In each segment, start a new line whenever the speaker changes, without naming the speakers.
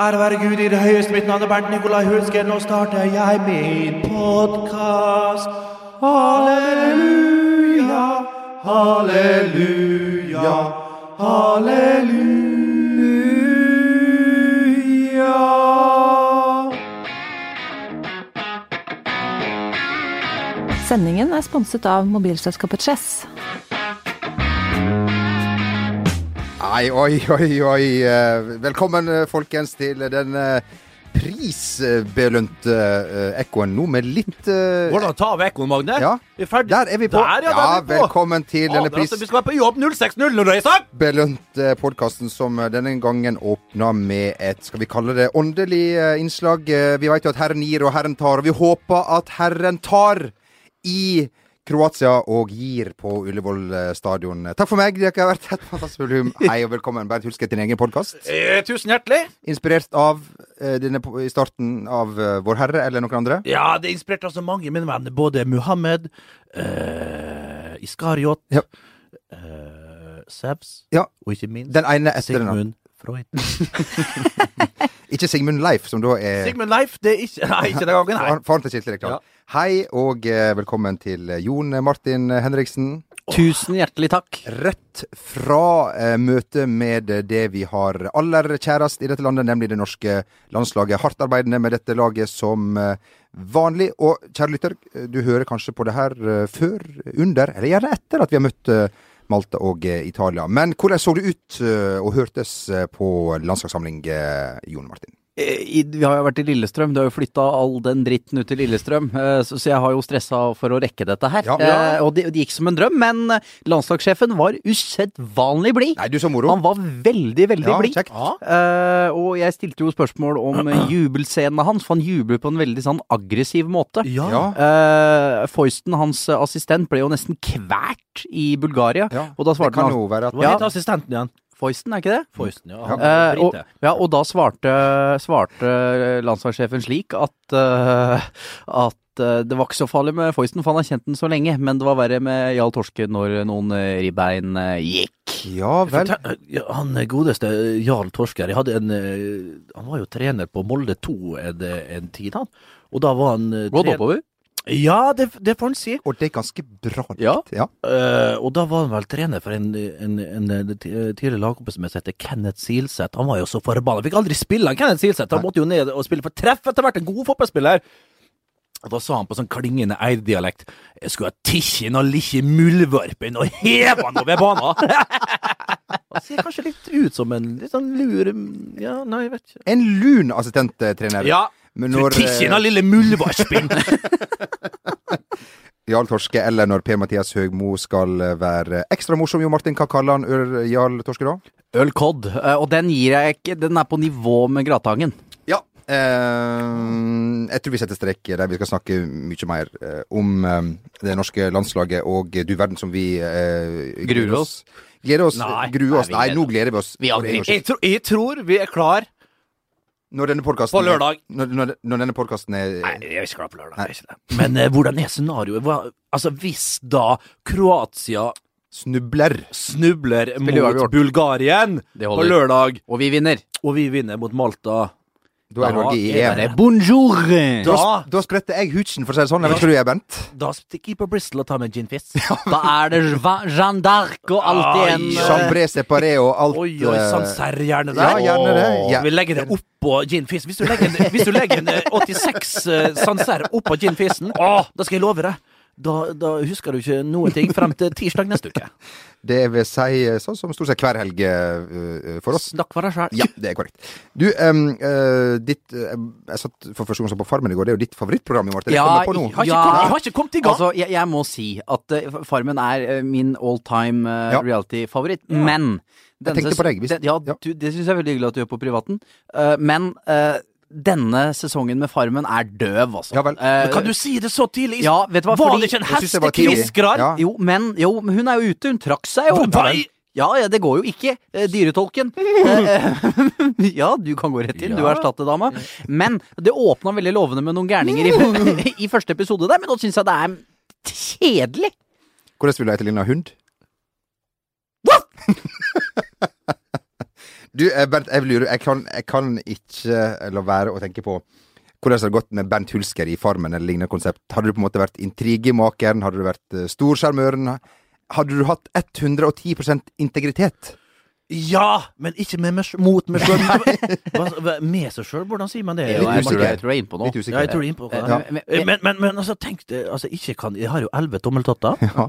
Ære være Gud i det høyeste. Mitt navn er Bernt Nikolai Hulsker. Nå starter jeg min podkast. Halleluja, halleluja, halleluja.
Sendingen er sponset av mobilselskapet Chess.
Nei, oi, oi, oi. Eh, Velkommen, eh, folkens, til den eh, prisbelønte eh, ekkoen nå med litt eh,
Hvordan tar vi ekkoen, Magne?
Ja.
Vi er ferdig.
Der er vi på.
Der, ja, der er vi på.
velkommen til
Fader,
denne
altså, vi skal være på jobb 06.00 når det er sagt!
prisbelønte podkasten som eh, denne gangen åpna med et, skal vi kalle det, åndelig eh, innslag. Eh, Vi veit jo at Herren gir og Herren tar, og vi håper at Herren tar i Kroatia og gir på Ullevål eh, stadion. Takk for meg, dere har vært et fantastisk volum. Hei og velkommen. Bernt Hulske til din egen podkast.
Eh, tusen hjertelig.
Inspirert av eh, denne po- i starten av eh, Vår Herre eller noen andre?
Ja, det inspirerte altså mange mine venner. Både Muhammed, eh, Iskariot,
Ja.
eh, Sevs,
Ja.
og ikke minst
Den ene etter den andre.
Sigmund Freud.
Ikke Sigmund Leif, som da er
Sigmund Leif, det er ikke Nei, ikke den gangen, nei.
faren, faren til Kjetil Rekdal.
Ja.
Hei og eh, velkommen til eh, Jon Martin Henriksen.
Tusen hjertelig takk.
Rett fra eh, møtet med eh, det vi har aller kjærest i dette landet, nemlig det norske landslaget. Hardtarbeidende med dette laget som eh, vanlig. Og kjære lytter, eh, du hører kanskje på det her eh, før, under, eller gjerne etter at vi har møtt eh, Malta og eh, Italia. Men hvordan så det ut eh, og hørtes eh, på landslagssamling, eh, Jon Martin?
Eh, i- Vi har jo vært i Lillestrøm, du har jo flytta all den dritten ut til Lillestrøm, eh, så så jeg har jo stressa for å rekke dette her.
Ja.
Eh, Og det det gikk som en drøm, men eh, landslagssjefen var usedvanlig blid.
Nei, du så moro.
Han var veldig, veldig
Ja,
blid.
kjekt.
Eh, og jeg stilte jo spørsmål om eh, jubelscenene hans, for han jubler på en veldig sånn aggressiv måte.
Ja.
Ja.
Eh, Foysten, hans eh, assistent, ble jo nesten kvært i Bulgaria.
Ja,
Og da
det
svarte
kan
han
jo være at
Hva heter assistenten igjen?
Foysten, er ikke det?
Foysten, ja.
Ja.
Han er
Eh, og,
brite.
ja, og da svarte, svarte landslagssjefen slik at, eh, at eh, det var ikke så farlig med Foysten, for han har kjent den så lenge, men det var verre med Jarl Torske når noen eh, ribbein eh, gikk.
Ja vel.
Fortell- ja, Han godeste eh, Jarl Torsker jeg hadde en, eh, Han var jo trener på Molde 2 en, en tid, han. Og da var han eh,
Gått
tren-
oppover?
Ja, det, det får han si.
Og det er ganske bra likt.
Ja.
Ja.
Eh, og da var han vel trener for en, en, en, en tidligere lagkompis som heter Kenneth Silseth. Han var jo så forbanna. Fikk aldri spille han Kenneth Silseth. Han
Nei.
måtte jo ned og spille for treff etter hvert. En god fotballspiller. Og da sa han på sånn klingende eid-dialekt Jeg skulle ha tikkjen og likkje muldvarpen og heva han over banen! Han ser kanskje litt ut som en litt sånn lur Ja, nei, jeg vet ikke.
En lun assistenttrener.
Ja,
Men
fru
når eh,
tikkjen og lille muldvarpen!
Jarl Torske eller når Per-Mathias Høgmo skal eh, være ekstra morsom, Jo Martin, hva kaller han Ør- Jarl Torske da?
Ølkodd. eh, Og den gir jeg ikke, den er på nivå med Gratangen.
Ja. Eh, jeg tror vi setter strek der vi skal snakke mye mer eh, om eh, det norske landslaget og eh, du verden som vi eh,
Gruer oss.
Gleder oss.
Nei,
gruer oss. Nei,
nei, vi
nå gleder vi oss.
Vi aldri-
For en gangs skyld.
Jeg, tror- jeg tror vi er klar
Når denne podkasten
på lørdag.
Når, når, når denne podkasten er
Nei, jeg er ikke klar på lørdag.
Nei.
jeg er ikke det. Men eh, hvordan er scenarioet? Hva, altså, hvis da Kroatia
snubler
snubler
uavgjort.
mot Bulgarien
Det
på
holder.
lørdag,
Og vi vinner.
og vi vinner mot Malta
Da er
Da
Norge i
er
EM.
Bare Eh, bonjour!
Da,
Da-
da spretter jeg hutsen, for å si det sånn. Jeg vet ikke hva du er, Bent.
Da stikker jeg på Bristol og tar meg en gin fizz.
Da er det Jean- Jeanne d'Arc og alt
Ai,
igjen.
Jean-
eh,
Chambré separé og alt.
Oi, oi,
eh,
sånn serr gjerne
Ja,
der.
gjerne det. Ja.
Vi legger det oppå gin fizz. Hvis du legger en, hvis du legger en eh, 86 uh, Sancerre oppå gin fizzen, da skal jeg love deg. Da, da husker du ikke noen ting frem til tirsdag neste uke.
Det vil si eh, sånn som stort sett hver helg eh, eh, for oss.
Snakk for deg sjæl.
Ja, det er korrekt. Du, em, eh, ditt eh, Jeg satt for første gang på Farmen i går. Det er jo ditt favorittprogram, Jo Martin. Jeg
Ja,
kommer på nå.
Jeg har ikke,
Ja.
kommet, jeg har ikke kommet i gang.
Altså, jeg, jeg må si at eh, Farmen er eh, min all time
Ja.
reality-favoritt, men denne
tenkte på deg,
ses-
hvis-
den, ja,
ja.
Du, det syns jeg er veldig hyggelig at du gjør på privaten, eh, men eh, denne sesongen med Farmen er døv, altså.
Ja vel.
Eh,
Men Kan du si det så tidlig?
ja, vet du hva,
var
fordi-
det ikke en
jeg synes det var tidlig.
hestekviskrar?
Ja.
Jo, men jo, men hun er jo ute. Hun trakk seg jo.
Nei!
Ja, ja, det går jo ikke. eh, Dyretolken. Eh, ja, du kan gå rett inn. Du er erstattedama. Men det åpna veldig lovende med noen gærninger i, i første episode der, men nå syns jeg det er kjedelig.
Hvordan vil du etterligne hund? Du, eh, Bernt, jeg lurer Jeg kan, jeg kan ikke eh, la være å tenke på hvordan har det gått med Bernt Hulsker i Farmen eller lignende konsept? Hadde du på en måte vært intrigemakeren? Hadde du vært eh, storsjarmøren? Hadde du hatt 110 integritet?
Ja, men ikke med meg, sj- mot meg sjøl. Med seg sjøl, hvordan sier man det?
Jeg er litt
jeg, tror,
usikker.
jeg tror jeg er innpå nå.
Litt usikker.
Ja, jeg tror det er innpå det.
Ja. Men- men-
Men, men, men altså, tenk det altså, ikke kan, Jeg har jo elleve tommeltotter.
Ja.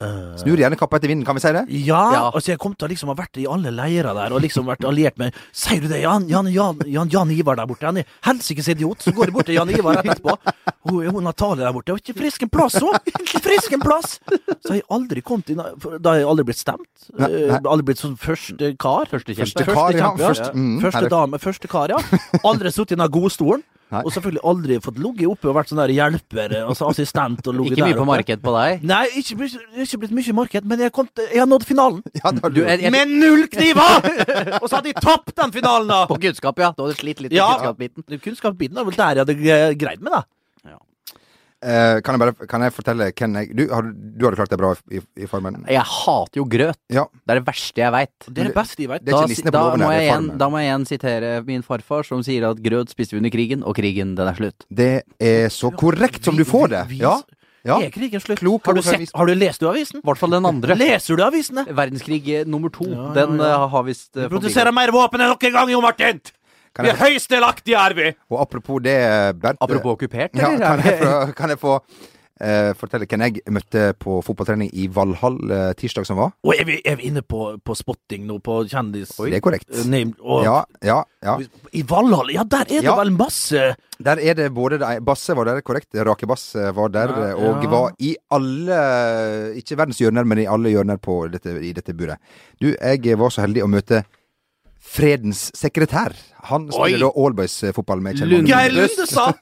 Eh,
Snur gjerne kappa etter vinden, kan vi si det?
ja,
Ja.
altså jeg kom til å liksom ha vært i alle leirer der og liksom vært alliert med Sier du det, Jan, Jan, Jan, Jan, Jan Ivar der borte? Han er helsikes idiot. Så går jeg bort til Jan Ivar rett etterpå. Hun, hun Natalie der borte, hun er ikke frisk en plass, hun! Ikke frisk en plass! Så har jeg aldri kommet inn for Da har jeg aldri blitt stemt.
Nei, nei.
Eh, Aldri blitt sånn første kar.
Første kjempe.
Første kar, ja.
kjempe,
Først- mm,
første
herlig.
dame, første kar, ja. Aldri sittet i den godstolen.
Nei.
Og selvfølgelig aldri fått ligget oppe og vært sånn der hjelper, altså assistent og ligget
Ikke
der
mye på
oppe.
marked på deg.
Nei, ikke, blitt- ikke blitt mye i marked, men jeg, kom til, jeg har nådd finalen.
Ja, da,
Du, jeg, jeg,
Med null kniver! og så hadde jeg tapt den finalen, da!
på kunnskap, ja. Du hadde slitt litt med
Ja.
kunnskapsbiten.
Det Kunnskapsbiten er vel der jeg hadde eh, greid meg, da.
Eh, kan, jeg bare, kan jeg fortelle hvem jeg Du, har, du hadde klart deg bra i, i Farmen?
Jeg hater jo grøt.
Ja.
Det er det verste jeg veit.
Det er det beste jeg veit.
Det er
Da,
ikke nissene på
da,
låven
må
her, det
jeg
er
igjen,
farmen.
da må jeg igjen sitere min farfar, som sier at grøt spiste vi under krigen, og krigen, den er slutt.
Det er så korrekt som du får det!
Vi- vi-
Ja. ja.
Er krigen slutt?
Klok
har, du
ordfører
sett,
Vis-
har du lest du avisen?
I hvert fall den andre.
Leser du avisene?
Verdenskrig eh, nummer to.
Ja, ja,
Den
ja.
eh, har visst eh,
Vi produserer mer våpen enn noen gang, Jo Martin!
Kan
Vi
jeg
er høyst delaktige, er vi!
Og apropos det, Bernt
Apropos okkupert,
Ja,
eller?
kan jeg få, kan jeg få eh, fortelle hvem jeg møtte på fotballtrening i Valhall eh, tirsdag som var?
Og er vi, er vi inne på, på spotting nå, på kjendis...
Det er korrekt.
Eh, Name, og,
Ja, ja, ja.
I Valhall? Ja, der er det
Ja.
vel masse
Der er det både de, Basse var der, korrekt. Rake Bass eh, var der,
Ja,
eh, og
ja.
var i alle eh, Ikke verdens hjørner, men i alle hjørner på dette, i dette buret. Du, jeg var så heldig å møte Fredens sekretær. Han spiller da
Oi.
Allboys-fotball med Kjell
Lund-
Magne.
Geir Lunde sa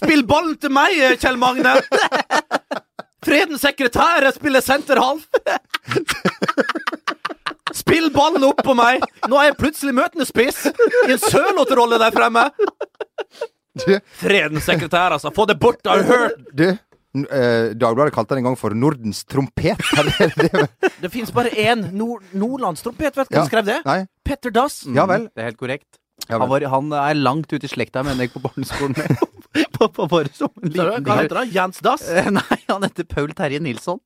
Spill ballen til meg, Kjell Magne! Fredens sekretær jeg spiller senterhalv. Spill ballen opp på meg! Nå er jeg plutselig møtende spiss i en sørlåterrolle der fremme.
Du,
Fredens sekretær, altså. Få det bort, har du hørt?
du n- eh, Dagbladet kalte han en gang for Nordens trompet. Er det- er det-
Det fins bare én nord nordlandstrompet. Vet du hvem som skrev det?
Nei.
Petter Dass.
Ja vel.
Det er helt korrekt.
Ja
Han,
vel.
var, han er langt ute i slekta, mener jeg, på barneskolen. på, på, bare som en
Hva
liten
heter han? Jens Dass?
Eh, Nei, han heter Paul Terje Nilsson.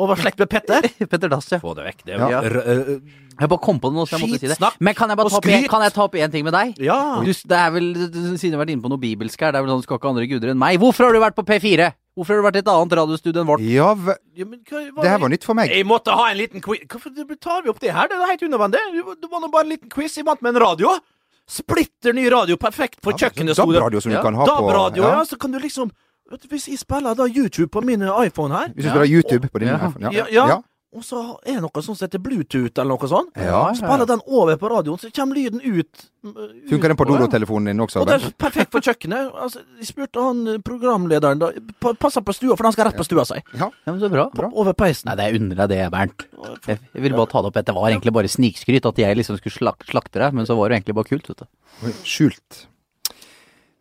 Og var slekt med Petter?
Petter Dass, ja.
Få det vekk. Det
Ja. Jeg bare kom på det nå, så jeg måtte si det.
Skitsnakk
Men kan jeg
og
bare ta opp en,
skryt.
kan jeg ta opp en ting med deg?
ja.
Du, det er vel, Siden du har vært inne på noe bibelsk her, det er vel sånn du skal ikke ha andre guder enn meg. Hvorfor har du vært på P4? Hvorfor har du vært i et annet radiostudio enn vårt?
Ja vel.
Ja, men hva- hva-
Det her var nytt for meg.
Jeg måtte ha en liten quiz. Hvorfor tar vi opp det her? Det er helt unødvendig. Det var nå bare en liten quiz. Jeg vant med en radio. Splitter ny radio. Perfekt for kjøkkenet. sto det.
DAB-radio som du
Ja,
kan ha på
DAB-radio,
ja.
ja. Så kan du liksom vet du, Hvis jeg spiller da YouTube på min iPhone her,
Hvis du spiller YouTube på din
Ja.
iPhone. Ja.
Ja, ja. og så er det noe sånt som heter Bluetooth eller noe sånt,
Ja, ja, ja.
spiller den over på radioen, så kommer lyden ut. mm,
Funker den på
ut- Å, ja.
Dodo-telefonen din også?
Og det
Bernt?
er perfekt for kjøkkenet. Altså, jeg spurte han eh, programlederen da pa- Passa på stua, for han skal rett på stua si.
Ja, men så bra.
Bra.
Over peisen.
Nei, det jeg unner deg det, Bernt. Jeg jeg ville bare ta det opp. Det var egentlig bare snikskryt at jeg liksom skulle slak slakte deg, men så var det jo egentlig bare kult, vet du.
Oi, Skjult.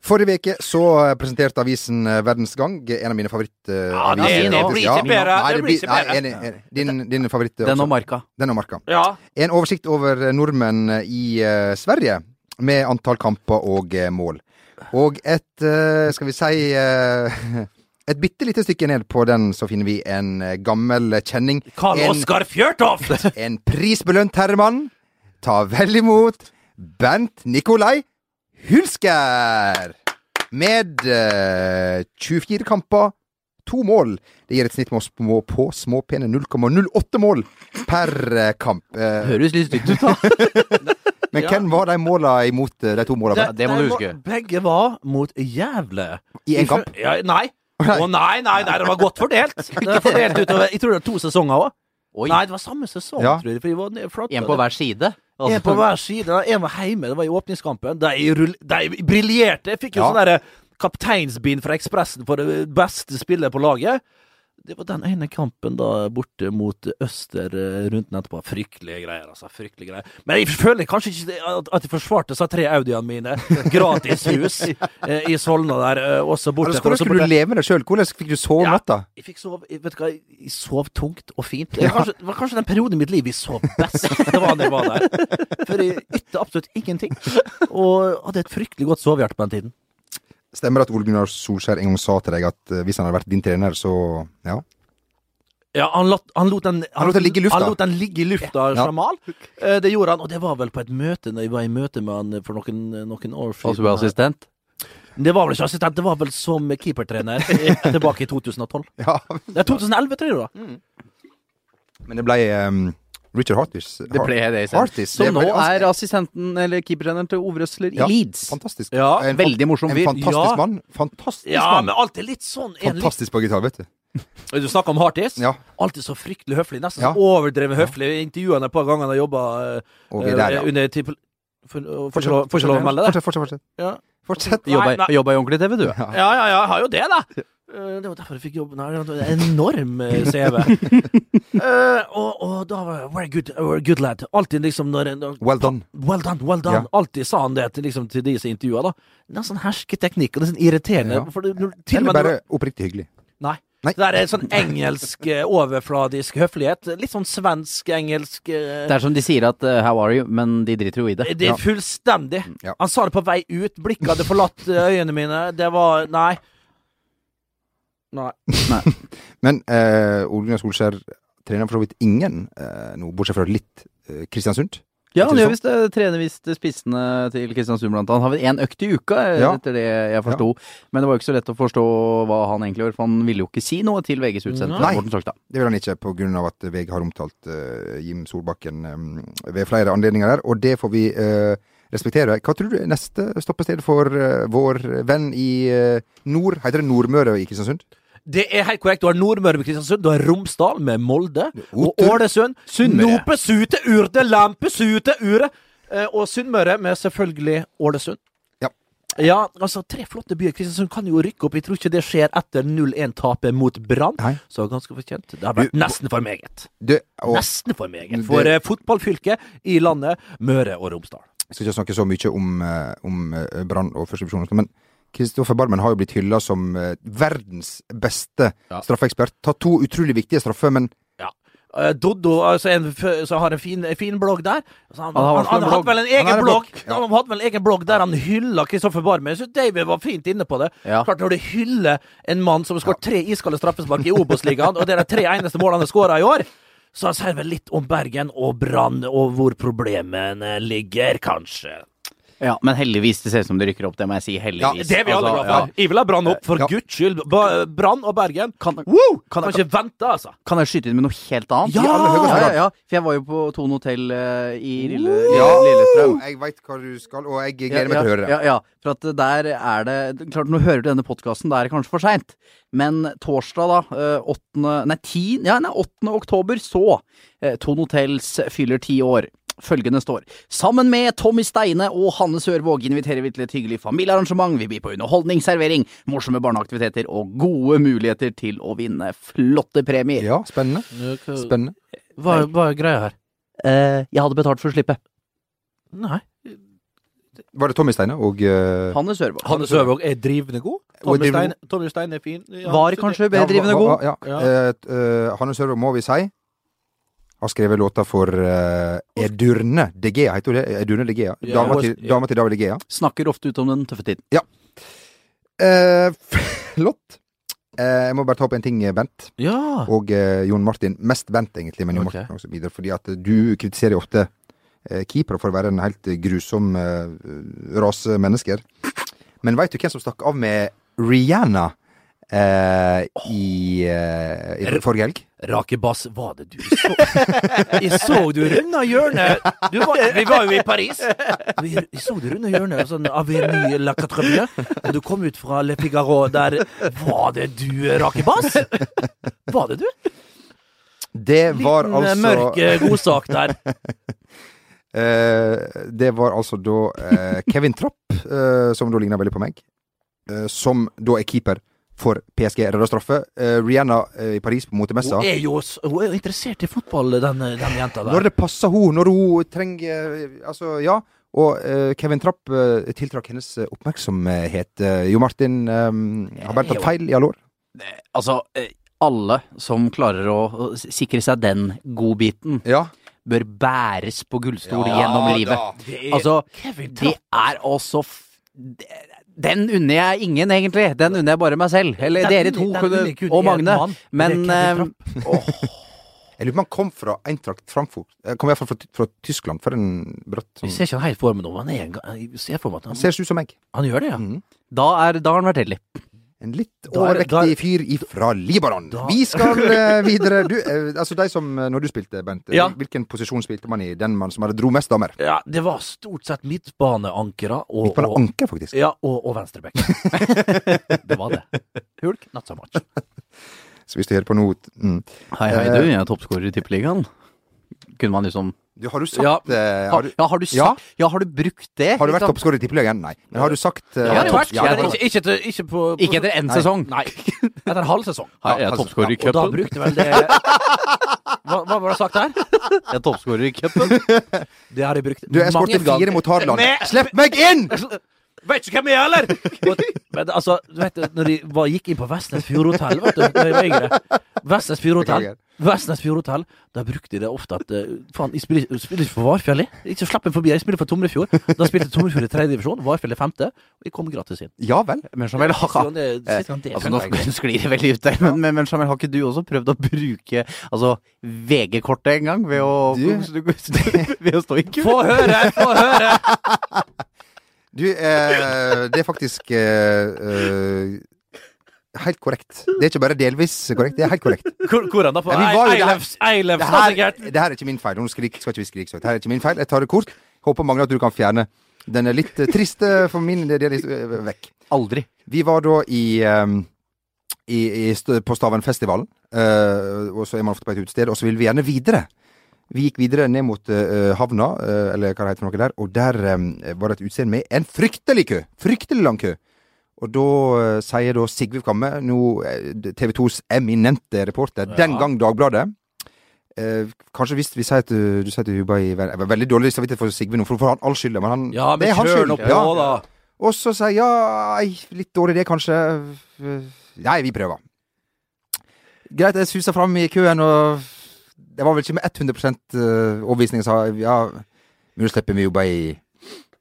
Forrige uke så eh, presenterte avisen eh, Verdens Gang, en av mine eh, favorittaviser.
Ja, det- det blir ikke bedre, det blir ikke bedre.
Enig. enig. Din, din favoritt. eh,
Den
også.
og Marka.
Den og Marka.
Ja.
En oversikt over eh, nordmenn eh, i eh, Sverige, med antall kamper og eh, mål. Og et, eh, skal vi si eh, Et bitte lite stykke ned på den, så finner vi en eh, gammel kjenning.
Karl
En-
Oskar Fjørtoft!
En prisbelønt herremann. Ta vel imot Bernt Nikolai Hulsker! Med eh, 24 kamper, to mål. Det gir et snitt med å små på småpene 0,08 mål per eh, kamp. Eh,
Høres litt stygt ut, da.
men
Ja.
hvem var de måla imot, eh, de to måla?
det
Der
må du
var-
huske.
Begge var mot jævle.
I en kamp?
Ja, nei. Å nei, nei, nei, det var godt fordelt. Det var fordelt utover, Jeg tror det var to sesonger òg.
Oi.
Nei, det var samme sesong,
Ja.
tror jeg. For jeg var ned- flatt,
En på hver side. Altså,
En på hver side. En var hjemme, det var i åpningskampen. De, rull, de briljerte. Jeg fikk
Ja.
jo eh, sånn derre kapteinsbind fra Ekspressen for det beste spillet på laget. Det var den ene kampen da borte mot Øster eh, runden etterpå. Fryktelige greier, altså. Fryktelige greier. Men jeg føler kanskje ikke det- at- at jeg forsvarte disse tre Audiene mine. Gratishus eh, i Solna der, eh, også
Hvordan
borte. også
Altså, skulle
borte.
du leve med deg sjøl? Hvordan fikk du sove
Ja.
natta?
Jeg fikk sove jeg, Vet du hva, jeg sov tungt og fint. Det var kanskje, det var kanskje den perioden i mitt liv jeg sov best. Det var da jeg var der. For jeg ytte absolutt ingenting. Og hadde et fryktelig godt sovehjerte på den tiden.
Stemmer det at Ole Gunnar Solskjær en gang sa til deg at eh, hvis han hadde vært din trener, så ja.
Ja, han, lot- han lot den
Han lot den ligge i lufta.
Han lot den ligge i lufta,
Ja.
Jamal. Eh, Det gjorde han, og det var vel på et møte Når jeg var i møte med han for noen, noen år siden.
Altså, du er assistent?
det var vel ikke assistent, det var vel som keepertrener eh, tilbake i 2012.
ja.
Det er 2011, tror jeg. da
Men det ble eh, Richard Hartis.
Det ble det i stedet.
Hartis.
Som nå
ble-
er assistenten eller keepertreneren til Ove Røsler i
Ja,
Leeds.
Fantastisk.
Ja,
En
Veldig morsom
En
fyr.
fantastisk
Ja.
mann. Fantastisk
Ja,
mann.
men alltid litt sånn en litt-
Fantastisk på gitar, vet du.
Du snakker om Hardtis?
Ja.
Alltid så fryktelig høflig. Nesten
Ja.
så overdrevet høflig. Jeg intervjua henne et par ganger da jeg jobba
Og
Eh,
vi er der, ja.
under tipol... Får får ikke lov- får ikke lov å melde det?
Fortsett, fortsett. fortsett.
Ja.
Fortsett.
Du Jobba
Nei,
i- jobba i ordentlig TV, du.
ja, ja, ja, jeg har jo det, da! Eh, Det var derfor jeg fikk jobb. Nei, det var en enorm eh, CV. Eh, og, og da var jeg very good, very good lad. Alltid liksom når en
Well done.
Well done, well done.
Ja.
Alltid sa han det til, liksom, til de som intervjua, da. Det er sånn hersketeknikk, og det er sånn irriterende.
Ja.
For det, når- til og
Eller
med når-
bare oppriktig hyggelig.
Nei.
Nei.
Det der er sånn engelsk, eh, overfladisk høflighet. Litt sånn svensk-engelsk
Det
Det
er som de sier at eh, 'how are you', men de driter jo i det.
det er fullstendig.
Ja.
Han sa det på vei ut. Blikket hadde forlatt eh, øynene mine. Det var Nei. Nei.
Men eh, Ole Gunnar Solskjær trener for så vidt ingen eh, nå, bortsett fra litt eh, Kristiansund.
Ja, han
Det er
gjør visst det. Trener visst spissene til Kristiansund blant annet. Han har vel én økt i uka, eh,
Ja.
etter det jeg forsto. Men det var jo ikke så lett å forstå hva han egentlig gjør, for han ville jo ikke si noe til VGs utsendte.
Nei.
Morten Solstad.
Det vil han ikke, på grunn av at VG har omtalt eh, Jim Solbakken eh, ved flere anledninger der, og det får vi eh, respektere. Hva tror du er neste stoppested for eh, vår venn i eh, nord? Heter det Nordmøre i Kristiansund?
Det er helt korrekt. Du har Nordmøre med Kristiansund, du har Romsdal med Molde, og
Otur.
Ålesund.
Sunnmøre.
Nopesute urte, lampesute ure! Eh, Og Sunnmøre med selvfølgelig Ålesund.
Ja.
Ja, altså Tre flotte byer. Kristiansund kan jo rykke opp. Jeg tror ikke det skjer etter 0-1-tapet mot Brann.
Nei.
Så ganske fortjent. Det har vært nesten for meget.
Det, og,
Nesten for meget
Det-
for eh, fotballfylket i landet Møre og Romsdal.
Jeg skal ikke snakke så mye om, eh, om eh, Brann og førstevisjon, men Kristoffer Barmen har jo blitt hylla som eh, verdens beste
Ja.
straffeekspert. Tatt to utrolig viktige straffer, men
Ja. Eh, Doddo altså en, f- så har en fin, en fin blogg der. Så han,
Han har
han, han,
også en blogg.
hadde vel en
har
egen
en
blogg
blogg, ja.
Han hadde vel en egen blogg der han hylla Kristoffer Barmen. Jeg synes David var fint inne på det.
Ja.
Klart Når du hyller en mann som har skåret tre iskalde straffespark i Obos-ligaen, og det er de tre eneste målene han har skåra i år, så han sier vel litt om Bergen og Brann, og hvor problemene ligger, kanskje.
Ja, men heldigvis. Det ser ut som de rykker opp, det må jeg si.
Ja,
Heldigvis.
Det er vi alle
Altså,
glad for.
ja.
Jeg vil ha Brann opp, for
Ja.
guds skyld. Ba- Brann og Bergen.
Kan,
Woo!
Kan-
Kan, ikke vente, altså.
kan jeg skyte inn med noe helt annet?
Ja! I aller
ja,
høyeste
ja,
grad.
ja. For jeg var jo på Tone hotell eh, i Lille, Lille, Lillestrøm.
Jeg veit hva du skal, og jeg
Ja,
gleder meg til å høre det.
Ja, ja, for at der er det Klart, nå hører du denne podkasten, da er det kanskje for seint. Men torsdag, da, eh, 8. Nei, 10, ja, nei, 8. oktober, så eh, Tone Hotels fyller ti år. Følgende står Sammen med Tommy Steine og Hanne Sørvåg inviterer vi til et hyggelig familiearrangement. Vi byr på underholdning, servering, morsomme barneaktiviteter og gode muligheter til å vinne flotte premier.
Ja, spennende. Spennende.
Hva, hva er greia her?
Eh, jeg hadde betalt for slippet.
Nei.
Var det Tommy Steine og eh,
Hanne Sørvåg.
Hanne Sørvåg er drivende god.
Og er
Tommy
drivende
Stein, Tommy Stein er fin. Ja,
Var
så
kanskje
det-
ja,
bedrivende
hva-
god.
hva- Ja,
Ja.
Eh, t- eh, Hanne Sørvold, må vi si, har skrevet låta for eh, Edurne De Gea, heter hun det? Edurne De Gea.
Ja.
Dama til, dama til David De Gea.
Snakker ofte ut om den tøffe tiden.
Eh, flott. Eh, jeg må bare ta opp en ting, Bent.
Ja.
og eh, Jon Martin. Mest Bent, egentlig, men Jon
Ok.
Martin også bidrar. Fordi at du kritiserer jo ofte eh, keepere for å være en helt grusom eh, rase mennesker. Men veit du hvem som stakk av med Rihanna eh, i, eh, i forrige helg?
Rake bass, var det du så? Jeg så du runda hjørnet. Du var, vi var jo i Paris. Vi, jeg så du runda hjørnet, sånn Avenue La Catreville. Og du kom ut fra Le Figaro der. Var det du, Rake bass? Var det du?
Det var
Liten eh,
altså
mørk eh, godsak der.
eh, Det var altså da eh, Kevin Trapp, eh, som da ligner veldig på meg, eh, som da er keeper for PSG. Redda straffe. Eh, Rihanna eh, i Paris på motemessa.
Hun er jo s- hun er jo interessert i fotball, den, den jenta der.
Når det passer hun, når hun trenger eh, Altså, ja. Og eh, Kevin Trapp eh, tiltrakk hennes eh, oppmerksomhet. Eh, jo Martin eh, har bare tatt feil i alle år.
Altså, eh, alle som klarer å s- sikre seg den godbiten,
Ja.
bør bæres på gullstol gjennom livet.
Det er-
Altså,
Kevin
de er også f... Den unner jeg ingen, egentlig. Den unner jeg bare meg selv. Eller
Den
dere
unner-
to,
den unner
kunne,
kun
og
én
Magne.
mann,
Men
det er Kevin
eh,
Jeg lurer på om han kom fra Eintracht Frankfurt. Eh, Kom i hvert fall fra, Ty- fra Tyskland, for en bratt
Jeg
som
ser ikke han helt for meg nå, men han er en ga- jeg ser for meg at han,
Ser ut som meg.
han gjør det, ja.
Mm.
da, er, da har han vært heldig.
En litt
Da er-
overvektig fyr ifra Libanon.
Da-
Vi skal eh, videre. Du, eh, altså de som eh, Når du spilte, Bent, eh,
Ja.
hvilken posisjon spilte man i? Den man som hadde dro mest damer?
ja. Det var stort sett midtbaneankere og,
På en
og,
anker, faktisk.
ja, og, og venstreback. det var det. Hulk, not so much.
Så hvis du hører på nå mm.
Hei, hei, du. Jeg er toppskårer i Tippeligaen. Kunne man liksom
du, Har du sagt
Ja.
eh, har,
har,
du,
Ja, har du sagt
Ja.
ja? har du brukt det?
har du vært
liksom?
toppskårer i Tippeligaen? Nei. Men har du sagt eh,
Ja,
topp-
det har jeg vært. Jeg
det har
har
du.
ikke, ikke, til- ikke på, på
Ikke etter én sesong.
Nei. Etter en halv sesong.
Hei, jeg er
altså,
toppskårer i
Og da
cupen.
brukte vel det Hva, hva var det sagt der?
Jeg er toppskårer i cupen.
Det har jeg brukt
Du, jeg skåret fire mot Haaland.
Med-
Slipp meg inn!
Vet ikke hvem jeg er, eller? Men altså, du vet, når de var, gikk inn på Vestnes Fjordhotell, vet du, da jeg var yngre Vestnes Fjordhotell.
Beklager.
Vestnes Fjordhotell, der brukte de det ofte at eh, Faen, jeg spiller, jeg spiller ikke for Varfjell, jeg. Ikke slapp meg forbi, jeg spiller for Tomrefjord. Da spilte Tomrefjord i tredje divisjon, Varfjell i femte, og jeg kom gratis inn.
Ja vel.
Men Jamel, ha, ha.
Så det-
Eh,
sitter han der.
Altså, nå sklir det veldig ut der, men, men, men Jamel, har ikke du også prøvd å bruke altså, VG-kortet en gang? Ved å, ved å stå i kø?
Få høre! Få høre!
Du, eh, det er faktisk eh, eh, Helt korrekt. Det er ikke bare delvis korrekt, det er helt korrekt.
Hvor- Hvordan da? På
Ja, vi var jo der.
Eilefs, Eilefs,
Det
da,
her,
sikkert.
det her er ikke min feil. Nå skrik, skal ikke vi skrike så høyt. Det her er ikke min feil. Jeg tar det kort. Håper Magne at du kan fjerne den er litt eh, triste for min del eh, vekk.
Aldri.
Vi var da i, ehm, i, i st- på Stavenfestivalen, eh, og så er man ofte på et utested, og så vil vi gjerne videre. Vi gikk videre ned mot eh, havna, eh, eller hva det heter for noe der, og der eh, var det et utested med en fryktelig kø. Fryktelig lang kø. Og da eh, sier da Sigve Kvamme, nå eh, TV 2s eminente reporter, den gang Dagbladet eh, Kanskje hvis vi sier at du, du sier at du jobber i Jeg var veldig dårlig samvittighet for Sigve nå, for han all skylda, men han
Ja, men
det er hans
kjør nå
skyld. Ja.
på, da.
Og så sier jeg ja, ei, litt dårlig idé kanskje. Nei, vi prøver. Greit, jeg suser fram i køen, og det var vel ikke med 100 eh, overbevisning jeg sa ja, men nå slipper vi jobbe i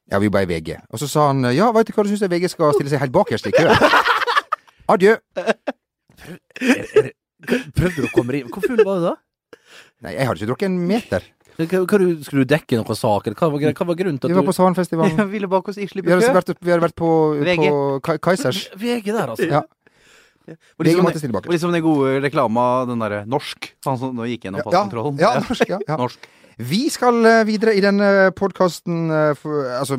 ja, vi jobber i VG. Og så sa han ja, veit du hva du syns VG skal stille seg helt bakerst i køen? Adjø.
Prøvde du å komme inn? Hvor full var du da?
Nei, jeg hadde ikke drukket en meter.
Hva, hva, du- skulle du dekke noen saker? Hva var, gre- hva var grunnen til
Vi
at
var
du
på Savanfestivalen.
ville bak oss ikke
Vi hadde vært, vi hadde vært på,
VG.
på Kai- Kaisers.
VG der, altså.
Ja.
Og
VG
liksom,
måtte stille
og
bakerst.
liksom den gode reklama, den derre norsk, han som nå gikk gjennom
Ja,
passkontrollen.
ja, norsk, ja, ja.
Norsk.
Vi skal eh, videre i denne podkasten Altså,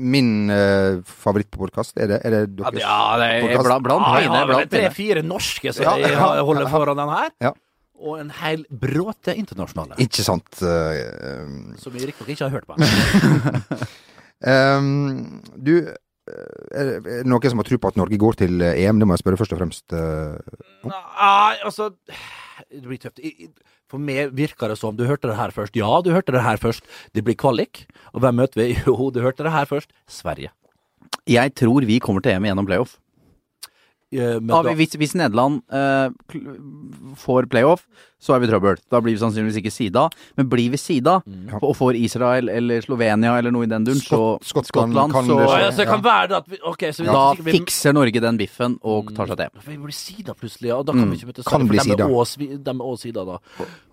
min eh, favoritt på podkast, er det, er det
Ja,
deres?
det er
Podcast.
blant, blant
Ja, jeg
mine.
har vel
Blant mine.
tre-fire norske som
Ja,
jeg
ja,
har- holder foran den her.
Ja.
Og en hel bråte internasjonale.
Ikke sant. eh,
Som jeg riktignok ikke har hørt på.
eh, um, du eh, er det er det noen som har tro på at Norge går til eh, EM? Det må jeg spørre først og fremst. eh.
Nei, altså Det blir tøft. I- i- For meg virker det som Du hørte det her først. Ja, du hørte det her først. Det blir kvalik. Og hvem møter vi? Jo, du hørte det her først. Sverige.
Jeg tror vi kommer til EM gjennom playoff.
Eh, men
Ja,
da-
hvis, hvis Nederland eh, kl- får playoff, så er vi i trøbbel. Da blir vi sannsynligvis ikke sida. Men blir vi sida og får Israel eller Slovenia eller noe i den duren, så
Skott- Skottland kan det
så
Å, ja, så det kan være det at vi Ok, så vi
da
sikkert vi-
fikser Norge den biffen og tar seg det.
For Vi blir sida plutselig, ja, og da kan vi ikke møte
Mm. kan
Sverige,
bli
for
sida.
dem er også vi- dem er også sida da.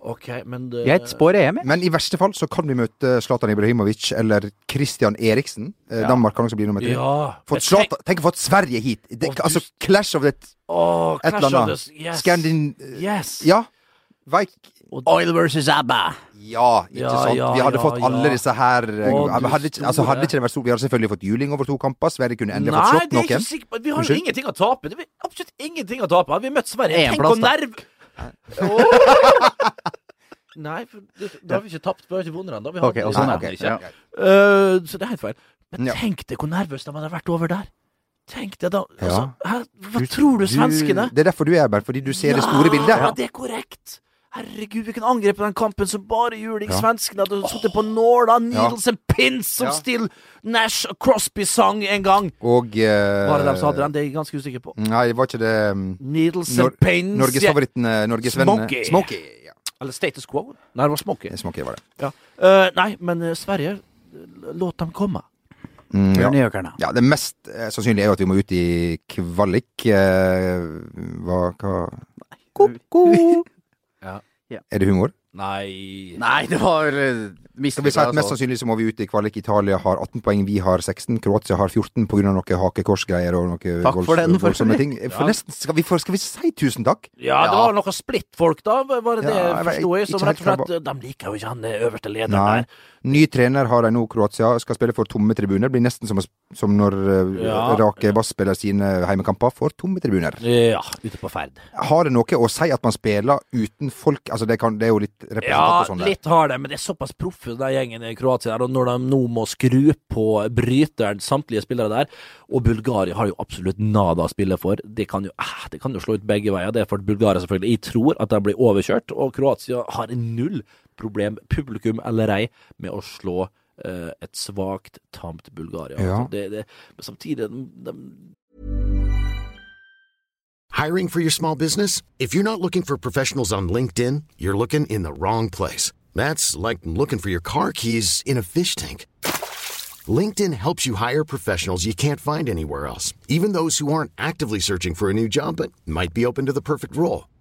Ok, men det,
Greit, spår EM, jeg.
Men i verste fall så kan vi møte Zlatan Ibrahimovic eller Christian Eriksen. Eh, Danmark kan også bli nummer tre.
Ja.
Fått Zlatan, tenk å få Sverige hit! Det,
Å, du-
altså Clash of the
Åh,
Et eller annet.
Yes.
Scandin...
Yes.
Ja. Veik
Oil versus ABBA.
Ja, ikke
Ja,
sant?
ja,
vi hadde
ja,
fått alle
ja.
disse her eh,
Å, du
hadde, ikke, altså,
store.
hadde ikke det vært stort Vi hadde selvfølgelig fått juling over to kamper. Sverige kunne endelig
Nei,
fått slått
det er ikke
noen.
sikkert men Vi har jo
Unnskyld?
ingenting å tape. Det er absolutt ingenting å tape. Hadde vi møtt Sverige
En
Tenk
plass,
å
da.
nerve Åh. Nei, for det- da har vi ikke tapt. Vi har ikke vunnet ennå. Vi har
Ok, og
aldri-
sånn,
Nei,
ja.
ok,
Ja.
greit.
Eh, så det er helt feil. Men
Ja.
tenk deg hvor nervøs de hadde vært over der. Tenk deg da. Altså,
Ja.
hæ? Hva tror du svenskene?
Det er derfor du er her, fordi du ser det store bildet.
Ja, det er korrekt. Herregud, vi kunne angrepet den kampen som bare juling. Svenskene hadde sittet på nåla. Needles and pins som
Ja.
still Nash og Crosby sang en gang.
Og eh,
Var det dem som hadde den? Det er jeg ganske usikker på.
Nei, var ikke det mm,
Needles
Nor
and pins.
Norgesfavoritten eh, Norgesvennen
Smokey.
Smokey. Ja,
Eller Status Quo. Nei, det var Smokey.
Smokey var det.
Ja. Eh, nei, men eh, Sverige, eh, låt dem komme.
Mm, ja.
Gjøkerne.
Ja, det mest eh, sannsynlige er jo at vi må ut i kvalik. Eh, hva, hva
Ko-ko.
Er det humor?
Nei
Nei, det var eh,
Skal vi si at
mistet jeg,
Mest
altså.
sannsynlig så må vi ut i kvalik. Italia har 18 poeng, vi har 16. Kroatia har 14 pga. noe hakekorsgreier og noe
Takk for den, for
voldsomme
øvrig.
ting. For
Ja.
nesten, skal, vi, for, skal vi si tusen takk?
Ja, det
Ja.
var noe splittfolk, da, var det det
Ja, jeg vet-
forsto jeg? Som
ikke
rett og
helt
slett eh, De liker jo ikke han eh, øverste lederen
Nei.
der.
Ny trener har de nå, Kroatia. Skal spille for tomme tribuner. Blir nesten som, å sp- som når eh,
Ja.
Rake Bass spiller sine heimekamper for tomme tribuner.
Ja, ute på ferd.
Har det noe å si at man spiller uten folk? Altså, det, kan, det er jo litt representant
Ja,
og sånn der.
litt har det, men det er såpass proffe, den gjengen i Kroatia der. Og når de nå må skru på bryteren, samtlige spillere der, og Bulgaria har jo absolutt nada å spille for, det kan jo, ah, det kan jo slå ut begge veier. Det er for Bulgaria, selvfølgelig. Jeg tror at de blir overkjørt, og Kroatia har null problem, publikum eller ei, med å slå eh, et svakt, tamt Bulgaria.
Ja.
Altså, Det, det, men samtidig, de, de,
Hiring for your small business? If you're not looking for professionals on LinkedIn, you're looking in the wrong place. That's like looking for your car keys in a fish tank. LinkedIn helps you hire professionals you can't find anywhere else, even those who aren't actively searching for a new job but might be open to the perfect role.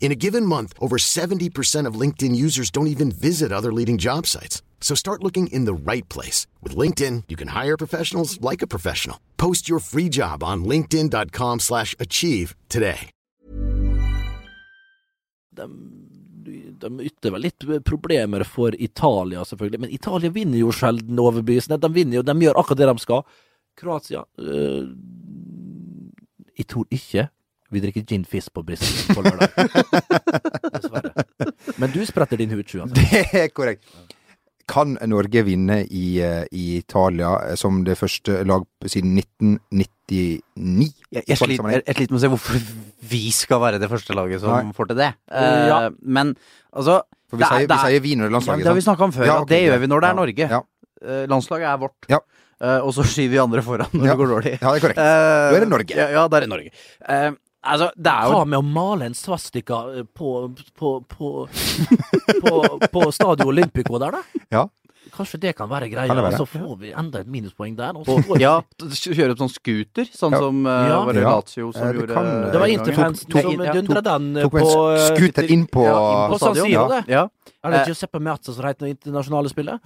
In a given month, over 70% of LinkedIn users don't even visit other leading job sites. So start looking in the right place. With LinkedIn, you can hire professionals like a professional. Post your free job on linkedin.com/achieve slash achieve today.
de ytter vel litt problemer for Italia, selvfølgelig. Men Italia vinner jo sjelden overbevisende. De vinner jo, de gjør akkurat det de skal. Kroatia øh, Jeg tror ikke vi drikker gin fizz på Bristol på lørdag. Dessverre. Men du spretter din hudsju, altså.
Det er korrekt. Kan Norge vinne i, eh, i Italia eh, som det første lag siden 1999?
Jeg, jeg sliter jeg, jeg sliter med å se hvorfor vi skal være det første laget som
Nei.
får til det. Eh,
Ja.
Men altså
For vi
det er-
sier,
det er-
vi sier vi når det er
Ja,
landslaget.
det har vi
sant?
snakka om før,
Ja,
at
ok,
det gjør
greit.
vi når det er
Ja,
Norge.
ja.
Eh, Landslaget er vårt.
Ja.
Eh, og så skyver vi andre foran når
Ja.
det går dårlig.
Ja, det er korrekt.
Eh,
Da er det Norge.
Ja, ja, da er det Norge. Eh, altså, det er jo
Hva med å male en svastika øh, på på, på, på, på Stadio Olympico der, da?
Ja.
Kanskje det kan være greia,
Kan det være?
og så får vi enda et minuspoeng der. Og så får vi-
Ja, t- kjøre opp sånn scooter, sånn
Ja.
som eh,
Ja.
var det
Ja.
Lazio som
Eh, det
gjorde
kan, eh,
Det var
Tok-
Interfansen
tok-
som
ja,
dundra den
Tok
på
med en
øh,
scooter inn på
eh, Ja, inn
på San
stadion.
Siro, det.
Ja.
Er det Giuseppe Meazza som heter det internasjonale spillet?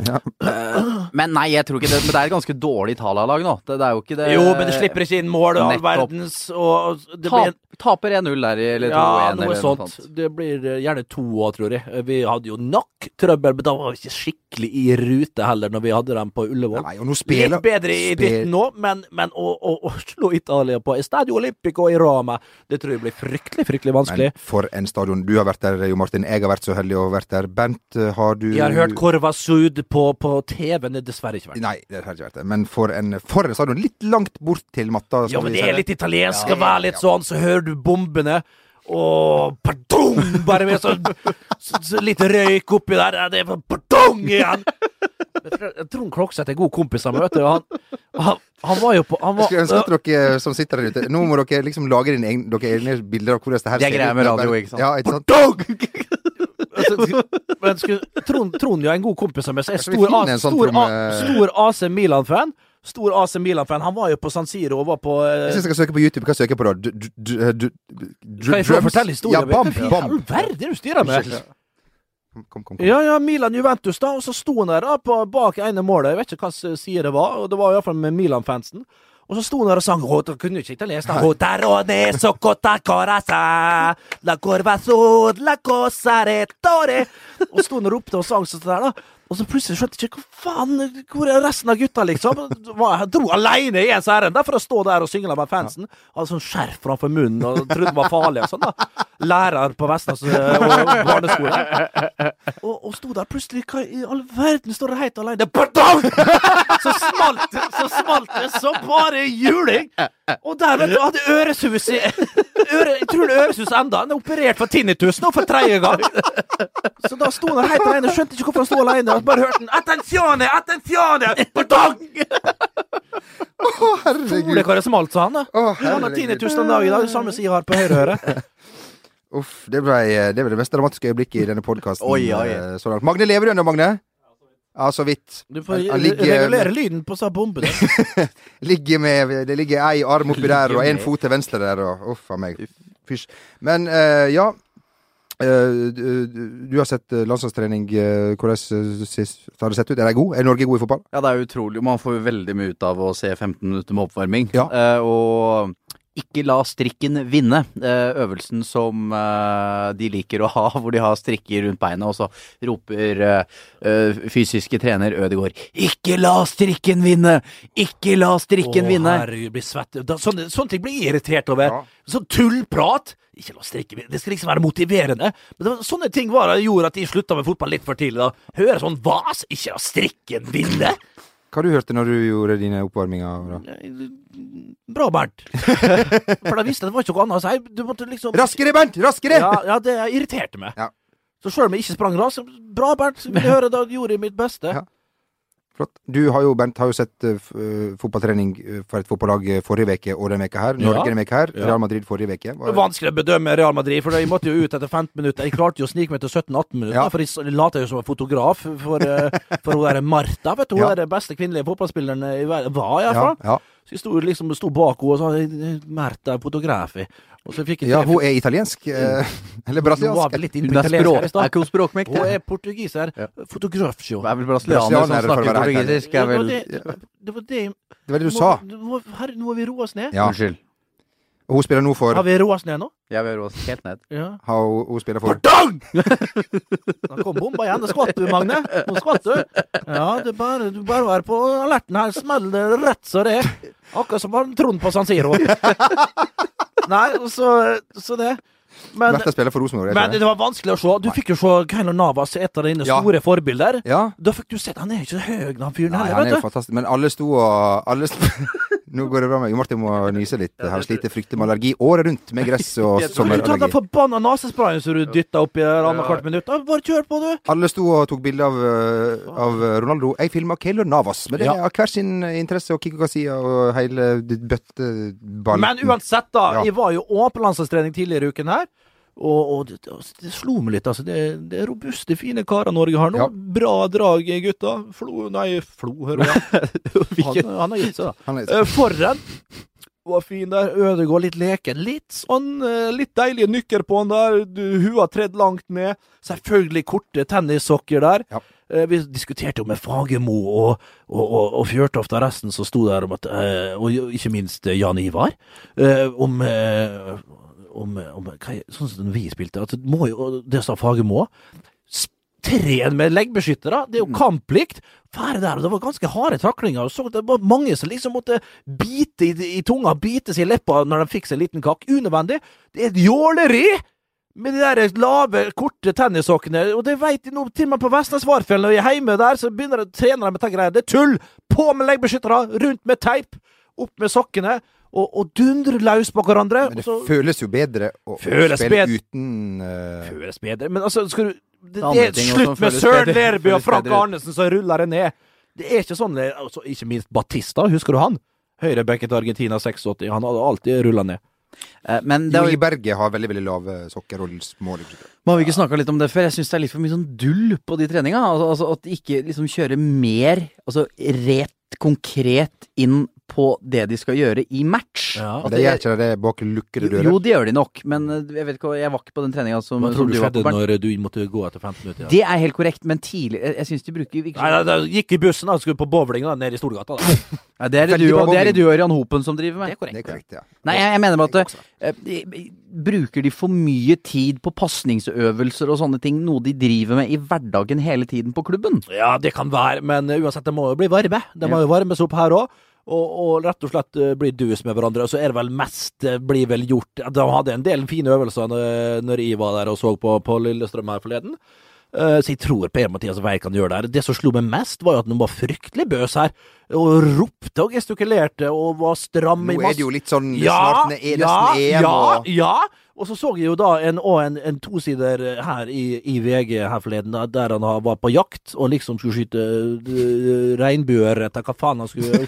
Men nei, jeg tror ikke det. Men det er et ganske dårlig Italia-lag nå. Det, det er jo ikke det
Jo, men det slipper ikke inn mål, all
Nettopp.
verdens, og det blir
Tap, Taper 1-0 der, i- eller 2-1
ja,
eller
noe sånt. Det blir eh, gjerne to òg, tror jeg. Eh, Vi hadde jo nok trøbbel, men da var vi ikke skikkelig i rute heller, når vi hadde dem på Ullevål.
Nei, og nå
Litt
spiller
bedre i
spil-
dytten nå, men, men å, å, å slå Italia på Estadio Olympico i Roma, det tror jeg blir fryktelig, fryktelig vanskelig.
Men for en stadion. Du har vært der, Jo Martin. Jeg har vært så heldig å ha vært der. Bent, eh, har du
Jeg har hørt Korva Sud på, på TV, men det er dessverre ikke vært.
Nei, det har ikke vært det. Men for en, for en stadion. Litt langt bort til matta.
Ja,
skal vi
men det
si.
er litt italiensk å være litt sånn, så hører du bombene. Og pardong! Bare med sånn så, så litt røyk oppi der. ja, Det er pardong igjen! Jeg tror- jeg tror han Klokseth er god kompis av meg, vet du. Han, han, han var jo på han var,
Jeg skulle ønske at dere som sitter der ute Nå må dere liksom lage dine egne, dere egne bilder av hvordan det her
Det er greia med
Det er
radio,
bare-
ikke sant?
Ja, ikke sant? Altså,
Men skulle, Trond, Trond jo er en god kompis av meg, så jeg er
Kanskje vi
stor,
finner
A-
en sånn
stor, A-
tromme-
stor AC Milan-fan. Stor AC Milan-fan. Han var jo på San Siro og var på eh,
Jeg syns jeg skal søke på YouTube. Hva søker jeg på da? Du, du, du, du, du,
Kan jeg få
drums?
fortelle historien?
Ja, bam,
vet du? Fy
bam.
all verden, det du styrer med!
Kom, kom, kom.
Ja, ja, Milan Juventus, da. Og så sto han der da, på, bak ene målet. Jeg vet ikke hva s- side det var, og det var iallfall med Milan-fansen. Og så sto han der og sang «Å, da kunne ikke italiensk. da. «Rotarone, socotta, corazza, La corva sud, la cosa retore». Og sto han og ropte og sang sånn der, da. Og så plutselig skjønte jeg ikke hva faen, hvor er resten av gutta, liksom? Var, han dro aleine i ens ærend da, for å stå der og syngle med fansen. Hadde sånn skjerf framfor munnen og trodde han var farlig og sånn, da. Lærer på Vestlands eh, og- og barneskole og, og sto der plutselig Hva i all verden står der helt alene? Det er pardon! Så smalt det, så smalt det, så bare juling! Og der, vet du, hadde øresus i øre, Jeg tror det er øresus enda Han er operert for tinnitus nå for tredje gang. Så da sto han helt alene, skjønte ikke hvorfor han sto alene. og Bare hørte han 'Attenzione! Attenzione! Pardon!'
Å, herregud.
Ole, hva er det smalt, sa han. da
Å,
Han har
herregud.
tinnitus den dag i dag. Det samme som jeg har på høyre øre.
Uff, det ble, eh, det ble det mest dramatiske øyeblikket i denne podkasten
Oi, oi.
så langt. Magne, lever du ennå, Magne? Ja, så vidt.
Du får
Han- han ligger-
regulere lyden på disse bombene.
Ligger med, det ligger ei arm oppi der, og én
med.
fot til venstre der, og uff a meg. Fysj. Men eh, ja. Eh, du, du- du har sett eh, landslagstrening. eh, Hvordan eh, sist- har det sett ut? Er de god? Er Norge god i fotball?
Ja, det er utrolig. Man får veldig mye ut av å se 15 minutter med oppvarming.
Ja.
Eh, og ikke la strikken vinne. Eh, øvelsen som eh, de liker å ha, hvor de har strikker rundt beinet, og så roper eh, eh, fysiske trener Ødegaard 'Ikke la strikken vinne! Ikke la strikken
Å,
vinne!'
herregud, blir svett. Da, sånne, sånne ting blir jeg irritert over.
Ja.
Sånn tullprat. Ikke la strikke Det skal liksom være motiverende. Men det var, sånne ting var det gjorde at de slutta med fotball litt for tidlig. da Høre sånn vas, ikke la strikken vinne.
Hva du hørte når du gjorde dine oppvarminger? da?
Bra, Bernt. For da visste jeg det var ikke noe annet å si. Du måtte liksom
Raskere, Bernt! Raskere!
ja, ja, det irriterte meg.
Ja.
Så sjøl om jeg ikke sprang raskt, bra, Bernt. Vil du høre, da gjorde jeg mitt beste.
Ja. Flott. Du har jo, Bernt, har jo sett eh, f- eh, fotballtrening eh, for et fotballag eh, forrige veke og denne veka her.
Ja.
Norge denne veka her.
Ja.
Real Madrid forrige veke.
Det er Vanskelig å bedømme Real Madrid, for jeg måtte jo ut etter 15 minutter. Jeg klarte jo å snike meg til 17-18 minutter,
Ja.
for jeg s- later jo som en fotograf for, eh, for hun der Martha. Vet du, hun
Ja.
er den beste kvinnelige fotballspilleren i verden. Var,
ja,
iallfall.
ja.
Så jeg sto, liksom, sto bak henne og sa 'Martha fotografi'. Og så fikk jeg
ja,
tre-
hun er italiensk. eh, Eller
Nå var vi
brasiliansk.
litt inne
Hun
på
er
italiensk
språk...
her i
Er
stad.
ikke hun språkmektig?
Hun er portugiser.
Ja.
Fotografio.
Hun er vel brasilianer som
Brasilianer, for å
snakker
være helt ærlig.
portugisisk. Er
Ja,
vel...
det, det var det
Det var det du
må-
sa.
nå må- Herre, nå må vi roe oss ned.
Ja.
Unnskyld.
Og hun spiller nå for
Har vi roa oss ned nå?
Jeg vil roe oss helt ned.
Ja.
har hun, hun spiller for
Pardon! Da kom bomba igjen. Da skvatt du, Magne. Nå skvatt du. Ja, det er bare, du bare vær på alerten her. Smeller det rett så det er. Akkurat som han Trond på San Siro. Nei, så, så det. Men,
Bertha spiller for Rosenborg. er det
men
ikke det?
det var vanskelig å se. Du fikk jo se Keiino Navas, et av dine
Ja.
store forbilder.
Ja.
Da fikk du sett Han er ikke så høy, han fyren
Nei,
heller,
han er jo
vet du.
fantastisk. Men alle sto og alle sto... Nå går det bra med Jo Martin må nyse litt. Her sliter fryktelig med allergi året rundt med gress og
Kan du ta den
sommerallergi.
forbanna nesesprayen som du dytta oppi her annethvert minutt? Da, Bare kjør på, du.
Alle sto og tok bilde av, eh, av Ronaldo. Jeg filma Keylor Navas, men det
Ja.
er av hver sin interesse og Kikko Kasia og hele bøtteballen.
Men uansett, da.
Ja.
Jeg var jo òg på landslagstrening tidligere i uken her. Og, og det, det, det slo meg litt, altså. Det, det er robuste, fine karer Norge har nå.
Ja.
Bra drag, gutta. Flo Nei, Flo, hører jeg. Han, han har gitt seg, da.
Han er-
Eh, Forren var fin der. Ødegaard litt leken. Litt sånn eh, litt deilige nykker på han der. Du- Hua tredd langt ned. Selvfølgelig korte tennissokker der.
Ja.
Eh, Vi diskuterte jo med Fagermo og, og, og, og Fjørtoft og resten som sto der, om at, eh, og jo- ikke minst eh, Jan Ivar, eh, om, eh, om, om hva, Sånn som vi spilte. At det må jo, og det sa Fagermo òg. Tren med leggbeskyttere, det er jo
Mm.
kamplikt. Fære der, og Det var ganske harde taklinger. og så Det var mange som liksom måtte bite i, i tunga, bite seg i leppa når de fikk seg en liten kakk. Unødvendig. Det er et jåleri! Med de der lave, korte tennissokkene. Og det veit de nå, til og med på Vestnesvarfjell, når jeg er hjemme der, så begynner de å trene med de greiene. Det er tull! På med leggbeskyttere, rundt med teip, opp med sokkene, og, og dundre løs på hverandre.
Men det
og så
føles jo bedre å å
altså- Føles
spille
bedre.
uten eh,
føles bedre. Men altså, skal du Det,
andre
det er
ting
slutt
også
med
føles
Søren
bedre.
Lerby og
Føles
Frank
bedre.
Arnesen som ruller det ned. Det er ikke sånn det- altså, Ikke minst Batista, husker du han? Høyrebacket Argentina 86, han hadde alltid rulla ned.
Eh, Men det
Jo,
er
i
jo,
Berget har veldig veldig lave sokker og små leggbeskyttere.
man har vi ikke snakka litt om det før. Jeg syns det er litt for mye sånn dull på de treninga. Altså, altså at de ikke liksom kjører mer, altså rett konkret inn på det de skal gjøre i match.
Ja.
At
Det gjør ikke det bak lukkede
jo,
dører.
jo, det gjør de nok, men eh, jeg vet ikke, jeg var ikke på den treninga som,
Hva tror
som
du
var på.
skjedde
Bernt.
når du måtte gå etter 15 minutter?
Det er helt korrekt, men tidlig Jeg, jeg syns de bruker
Nei, nei, nei, gikk i bussen da, skulle på bowling da, nede i Storgata. Da.
Nei, det er det
Veldig
du
bra
og, det er det
bowling.
du og Jan Hopen som driver
Det
med.
er
Det er korrekt, ja.
Nei, jeg, jeg mener bare at eh, de- Bruker de for mye tid på pasningsøvelser og sånne ting, noe de driver med i hverdagen hele tiden på klubben?
Ja, det kan være, men eh, uansett, det må jo bli varme. Det må jo varmes opp her òg. Og, og rett og slett eh, bli dus med hverandre. Og så er det vel mest eh, blir vel gjort De hadde en del fine øvelser når, når jeg var der og så på, på Lillestrøm her forleden. Eh, Så jeg tror Per-Mathias Weir kan gjøre det her. Det som slo meg mest, var jo at han var fryktelig bøs her. Og ropte og gestikulerte og var stram
Nå
i
er
masse
det jo litt sånn snart ne- er nesten EM
ja,
og
ja. Og så så jeg jo da en, og en, en tosider her i, i VG her forleden, da, der han har- var på jakt og liksom skulle skyte øh, regnbuer etter hva faen han skulle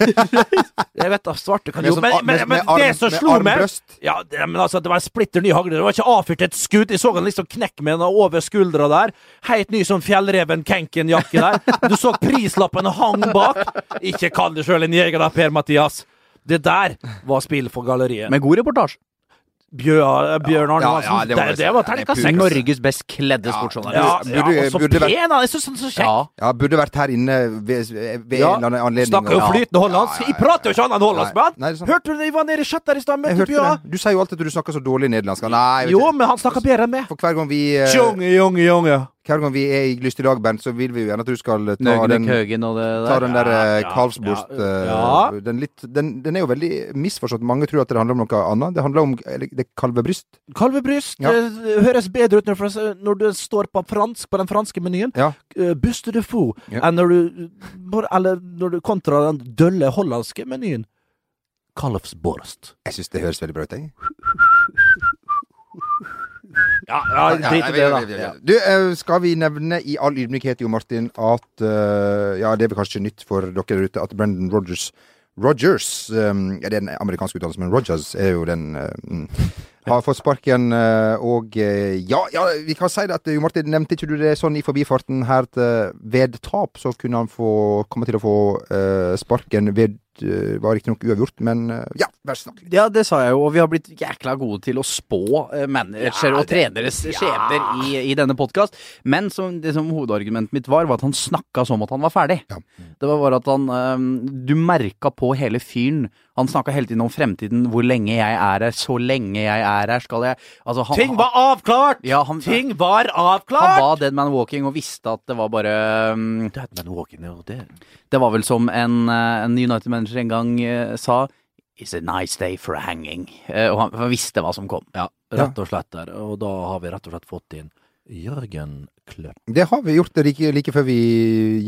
Jeg vet da, svarte kan
Med
jo
sånn
Men,
ar-
men,
med-
men
med arm-
det som
med
slo meg
armbrøst.
ja, det, men altså, det var en splitter ny hagle. Det var ikke avfyrt et skudd. Jeg så han liksom knekke med den over skuldra der. Helt ny sånn Fjellreven Kenken-jakke der. Du så prislappen hang bak. Ikke kall deg sjøl en jeger, da, Per-Mathias. Det der var spill for galleriet.
Med god reportasje.
Bjør, Bjørn Arne
ja,
Hansen.
ja, det
det,
må jeg
det,
si.
var
Han er
terningkast
pur.
seks.
Norges best kledde
Ja,
sportsjournalist.
Burde-
ja, og så
burde vært-
pen han er! Så, så, så kjekk!
Ja.
Ja, burde vært her inne ved, ved
Ja,
en eller annen anledning.
Snakker jo
Ja.
flytende hollandsk.
Ja, ja, ja,
Jeg prater jo ikke annet enn hollandsk med
Nei, det
han!
er sant.
Hørte du det? Jeg var nede i chatter i stad,
Jeg
møtte
hørte
Bjørn.
det. Du sier jo alltid at du snakker så dårlig nederlandsk. Nei, jeg vet
Jo,
ikke.
men han snakker bedre enn meg.
for hver gang vi eh,
Tjonge, jonge, jonge.
Hver gang vi er i Lyst i dag, Bernt, så vil vi jo gjerne at du skal ta den
Nøgen, Køgen og det
Ta
der.
den der eh,
ja,
kalvsborst
ja,
eh,
ja.
den, litt, den, den er jo veldig misforstått. Mange tror at det handler om noe annet. Det handler om eller, det er kalvebryst.
Kalvebryst
Ja.
eh, høres bedre ut når, fras- når du står på fransk på den franske menyen.
Ja.
Eh, Buste de fou.
Ja.
Enn når du bare- Eller når du kontra den dølle hollandske menyen. Kalvsborst.
Jeg syns det høres veldig bra ut, jeg.
Ja, ja drit i det, da. Ja.
Du, eh, skal vi nevne i all ydmykhet, Jo Martin, at eh, Ja, det er vel kanskje nytt for dere der ute, at Brendan Rogers Rogers eh, ja, Det er den amerikanske utdannelsen, men Rogers er jo den eh, mm, Har fått sparken, eh, og eh, ja, ja, vi kan si det at Jo Martin, nevnte ikke du det sånn i forbifarten her at eh, ved tap så kunne han få komme til å få eh, sparken ved eh, Var riktignok uavgjort, men eh, ja, vær så snill.
Ja, det sa jeg jo, og vi har blitt jækla gode til å spå eh, managere og treneres skjebner i, i denne podkast. Men som, det som hovedargumentet mitt var, var at han snakka som at han var ferdig.
Ja.
Det var bare at han eh, Du merka på hele fyren. Han snakka hele tiden om fremtiden. Hvor lenge jeg er her, så lenge jeg er her, skal jeg Altså, han
Ting var avklart!
Ja, han-
Ting var
han
avklart!
var dead man walking og visste at det var bare um,
Men walking, ja, det-
Det var vel som en, eh, en United-manager en gang eh, sa It's a nice day for a hanging. Eh, og han, han visste hva som kom.
Ja, rett og slett der. Og da har vi rett og slett fått inn Jørgen Kløpp.
Det har vi gjort like, like før vi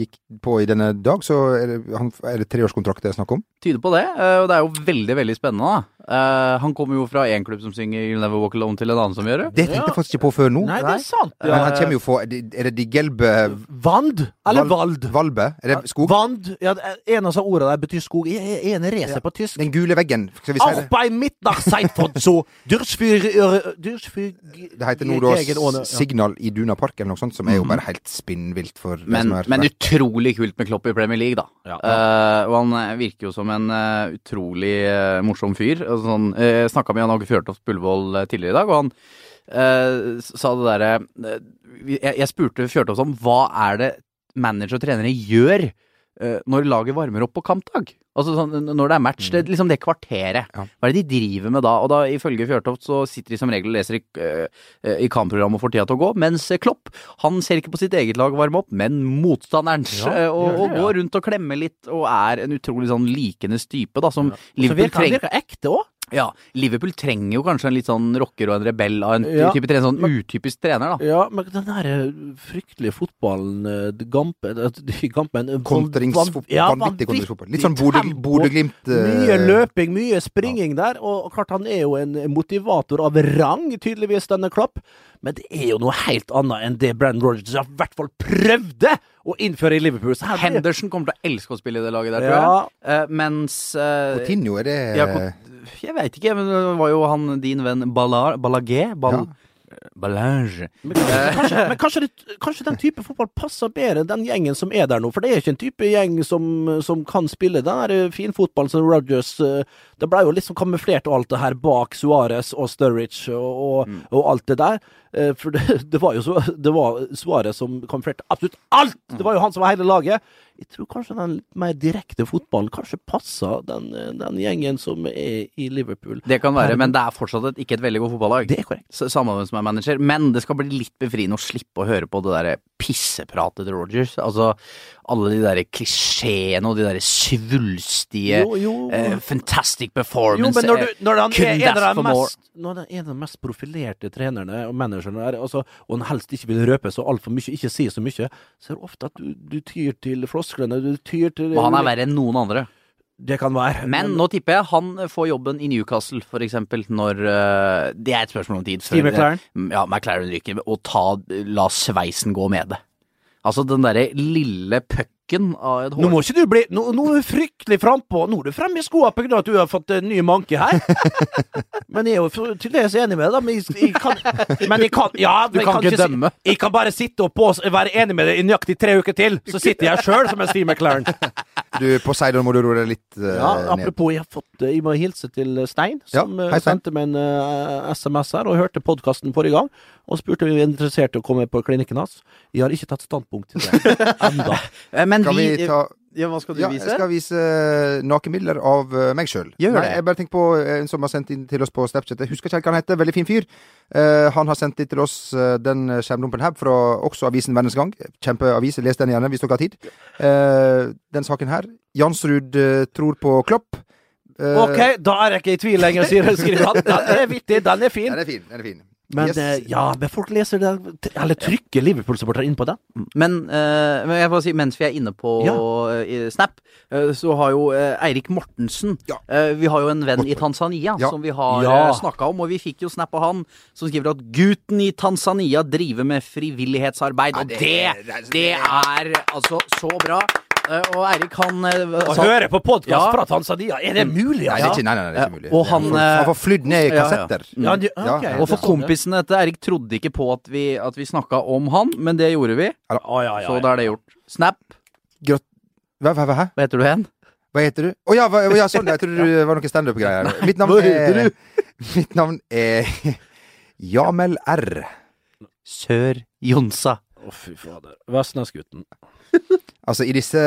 gikk på i denne dag, så er det, han, er det treårskontrakt det er snakk om.
Tyder på det, eh, og det er jo veldig veldig spennende. da. Eh, Han kommer jo fra én klubb som synger 'You'll Never Walk Alone' til en annen som gjør det.
Det tenkte jeg faktisk ikke på før nå.
Nei, det er sant.
Men han kommer jo fra Er det De Gelbe
Vand, eller Vald?
Valbe? Er det skog?
Vand, ja, det er- en av disse ordene der betyr skog. Jeg er enig racer på tysk.
Den gule veggen, skal vi si
Auch
det?
bei Midnacht seid von so Durchführ... Durchführ...
Det heter nå da
Gegen Åne, ja. Mhm.
Signal i Duna Park eller noe sånt som er jo bare helt spinnvilt for de
Men,
som er-
men utrolig kult med Klopp i Premier League, da.
Ja.
Eh, og han eh, virker jo som en eh, utrolig eh, morsom fyr. Altså, sånn, eh, jeg snakka med Jan Åge Fjørtoft Bullvoll eh, tidligere i dag, og han eh, s- sa det derre eh, vi- jeg, jeg spurte Fjørtoft om hva er det manager og trenere gjør eh, når laget varmer opp på kampdag? Altså sånn, n- Når det er match,
Mm.
det, liksom det kvarteret.
Ja.
Hva er det de driver med da? Og da ifølge Fjørtoft så sitter de som regel og leser i, eh, eh, i kampprogrammet og får tida til å gå, mens eh, Klopp han ser ikke på sitt eget lag varme opp, men motstanderens. eh, og, og går rundt og klemmer litt og er en utrolig sånn likenes type, da, som
Så
Liverpool
virker han
trenger.
virker ekte òg.
Ja, Liverpool trenger jo kanskje en litt sånn rocker og en rebell av en
Ja.
type trener, sånn utypisk trener, da.
Ja, men den der eh, fryktelige fotballen eh, Gampen eh, ikke Gampen eh,
Kontringsfotball.
van- ja,
vanvittig kontringsfotball. Litt sånn
tempo.
Bodø- Bodø-Glimt
Mye
eh,
løping, mye springing der. Og klart han er jo en motivator av rang, tydeligvis, denne Klopp. Men det er jo noe helt annet enn det Brandon Rogers i hvert fall prøvde å innføre i Liverpool. Så her blir det-
Henderson kommer til å elske å spille i det laget der, tror
Ja.
jeg. Eh, mens eh,
Coutinho, er det
ja, Cot- Jeg veit ikke, men det var jo han din venn Ballar, Ballagé Ball, Ballange.
Men kanskje, kanskje, men kanskje, det, kanskje den type fotball passer bedre enn den gjengen som er der nå. For det er ikke en type gjeng som, som kan spille den der eh, finfotballen som Rogers Det ble jo liksom kamuflert og alt det her bak Suárez og Sturridge og, og, og alt det der. Eh, For det, det var jo så, det var Suárez som kamuflerte absolutt alt! Det var jo han som var hele laget. Jeg tror kanskje den litt mer direkte fotballen kanskje passer den, eh, den gjengen som er i Liverpool.
Det kan være, men det er fortsatt et, ikke et veldig godt fotballag.
Det er korrekt.
S- Samme hvem som er manager. Men det skal bli litt befriende å slippe å høre på det derre pissepratet til Rogers. Altså alle de derre klisjeene og de derre svulstige
Jo, jo.
eh, Fantastic
Jo,
performance.
men når,
eh,
du, når han
couldn't
er en av
ask
de
for more.
mest, når han er en av de mest profilerte trenerne og managerne der, altså, og han helst ikke vil røpe så altfor mye, ikke si så mye, så er det ofte at du, du tyr til flosklene, du tyr til
Men han er verre enn noen andre.
Det kan være.
Men nå tipper jeg han får jobben i Newcastle, for eksempel, når eh, Det er et spørsmål om tid. før-
Steve McLaren?
Ja, McLaren ryker. Og ta, la sveisen gå med det. Altså den derre lille pucken av et hår.
Nå må ikke du bli Nå, nå er du fryktelig frampå. Nå er du fremme i skoa pga. at du har fått en ny manke her. men jeg er jo for- tydeligvis enig med deg, da. Men jeg, jeg kan, men jeg kan Ja, men jeg
kan ikke
si-
dømme.
Jeg kan bare sitte opp og være enig med deg i nøyaktig tre uker til, så sitter jeg sjøl som en Steve McLaren.
Du, Poseidon må du roe deg litt eh,
Ja,
ned.
apropos, jeg, har fått, eh, jeg må hilse til Stein,
Ja,
som eh,
hei, Stein.
sendte meg en eh, SMS her og hørte podkasten forrige gang, og spurte om vi var interessert i å komme på klinikken hans. Jeg har ikke tatt standpunkt til det enda.
Eh, Men eh,
Skal vi ta
Ja, hva skal du
Ja, jeg
vise?
skal vise nakenbilder av eh, meg sjøl.
Gjør det.
Jeg bare tenker på eh, en som har sendt inn til oss på Snapchat. Jeg husker ikke helt hva han heter. Veldig fin fyr. Eh, han har sendt inn til oss eh, den eh, skjermdumpen her fra også avisen Verdens Gang. Kjempeavis. Les den gjerne hvis dere har tid. Eh, den saken her. Jansrud eh, tror på Klopp. Eh,
Ok, da er jeg ikke i tvil lenger, sier skriver han. Den er vittig, den er fin.
Den er fin. Den er fin.
Men,
Yes.
eh, ja, men folk leser det, eller trykker Liverpool-supportere inn på den.
Men, eh, men jeg får si, mens vi er inne på eh, Snap, eh, så har jo eh, Eirik Mortensen
Ja.
eh, Vi har jo en venn i Tanzania
Ja.
som vi har
Ja.
eh, snakka om, og vi fikk jo snap av han som skriver at gutten i Tanzania driver med frivillighetsarbeid. Og det, det er altså så bra. Eh, og Eirik, han eh,
Å
sa-
høre på podkast
Ja.
fra Tanzania, er det mulig?
Nei, det er
altså?
ikke, nei, nei, nei, det er ikke mulig.
Og han,
får-
eh,
han får flydd ned i
ja, Mm. ja.
kassetter.
Ja, de- ok.
Ja,
Og for
Ja.
kompisene til Eirik trodde ikke på at vi, at vi snakka om han, men det gjorde vi.
Å, ja, ja,
Så
ja.
da er det gjort. Snap,
Hva, hva, hva, hæ?
hva heter du hen?
Hva heter du? Å ja, hva, å ja, sånn, jeg trodde det var noe standup-greier. Mitt navn
hva
er
heter
Mitt navn er Jamel R.
Sør Jonsa.
Å, fy fader. Vestlandsgutten.
Altså, i disse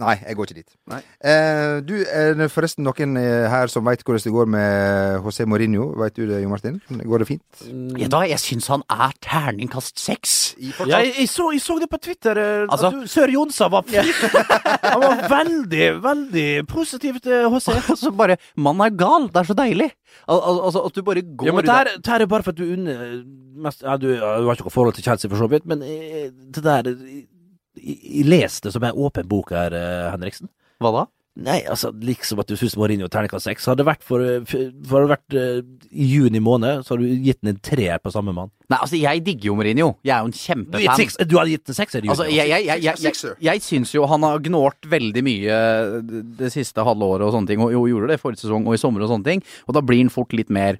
Nei, jeg går ikke dit.
Nei.
Eh, du, er det forresten noen eh, her som veit hvordan det går med José Mourinho? Veit du det, Jo Martin? Går det fint?
Ja, da, jeg syns han er terningkast seks.
Ja, jeg, jeg, så, jeg så det på Twitter. eh,
Altså-
at du, Sør Jonsa var fint. Han var veldig, veldig eh, positiv til HC.
Altså bare, Mannen er gal! Det er så deilig! Al al altså At du bare går
Ja, men
ut av-
der, der er bare for at du unner eh, mest ja, du, ja, du har ikke noe forhold til Chelsea, for så vidt, men eh, det der eh, Jeg jeg leser det som en åpen bok her, eh, Henriksen.
Hva da?
Nei, altså, liksom at du syns Mourinho terningkast seks. Hadde det vært for, eh, f- for hadde det vært eh, i juni måned, så hadde du gitt den en treer på samme mann.
Nei, altså Jeg digger jo Mourinho. Jeg er jo en
Du, gitt
kjempefan.
seks- du hadde gitt den sekser i juni.
Altså, jeg, jeg, jeg, jeg, jeg, jeg, syns jo han har gnålt veldig mye eh, det siste halve året og sånne ting, og, og gjorde det forrige sesong og i sommer og sånne ting, og da blir han fort litt mer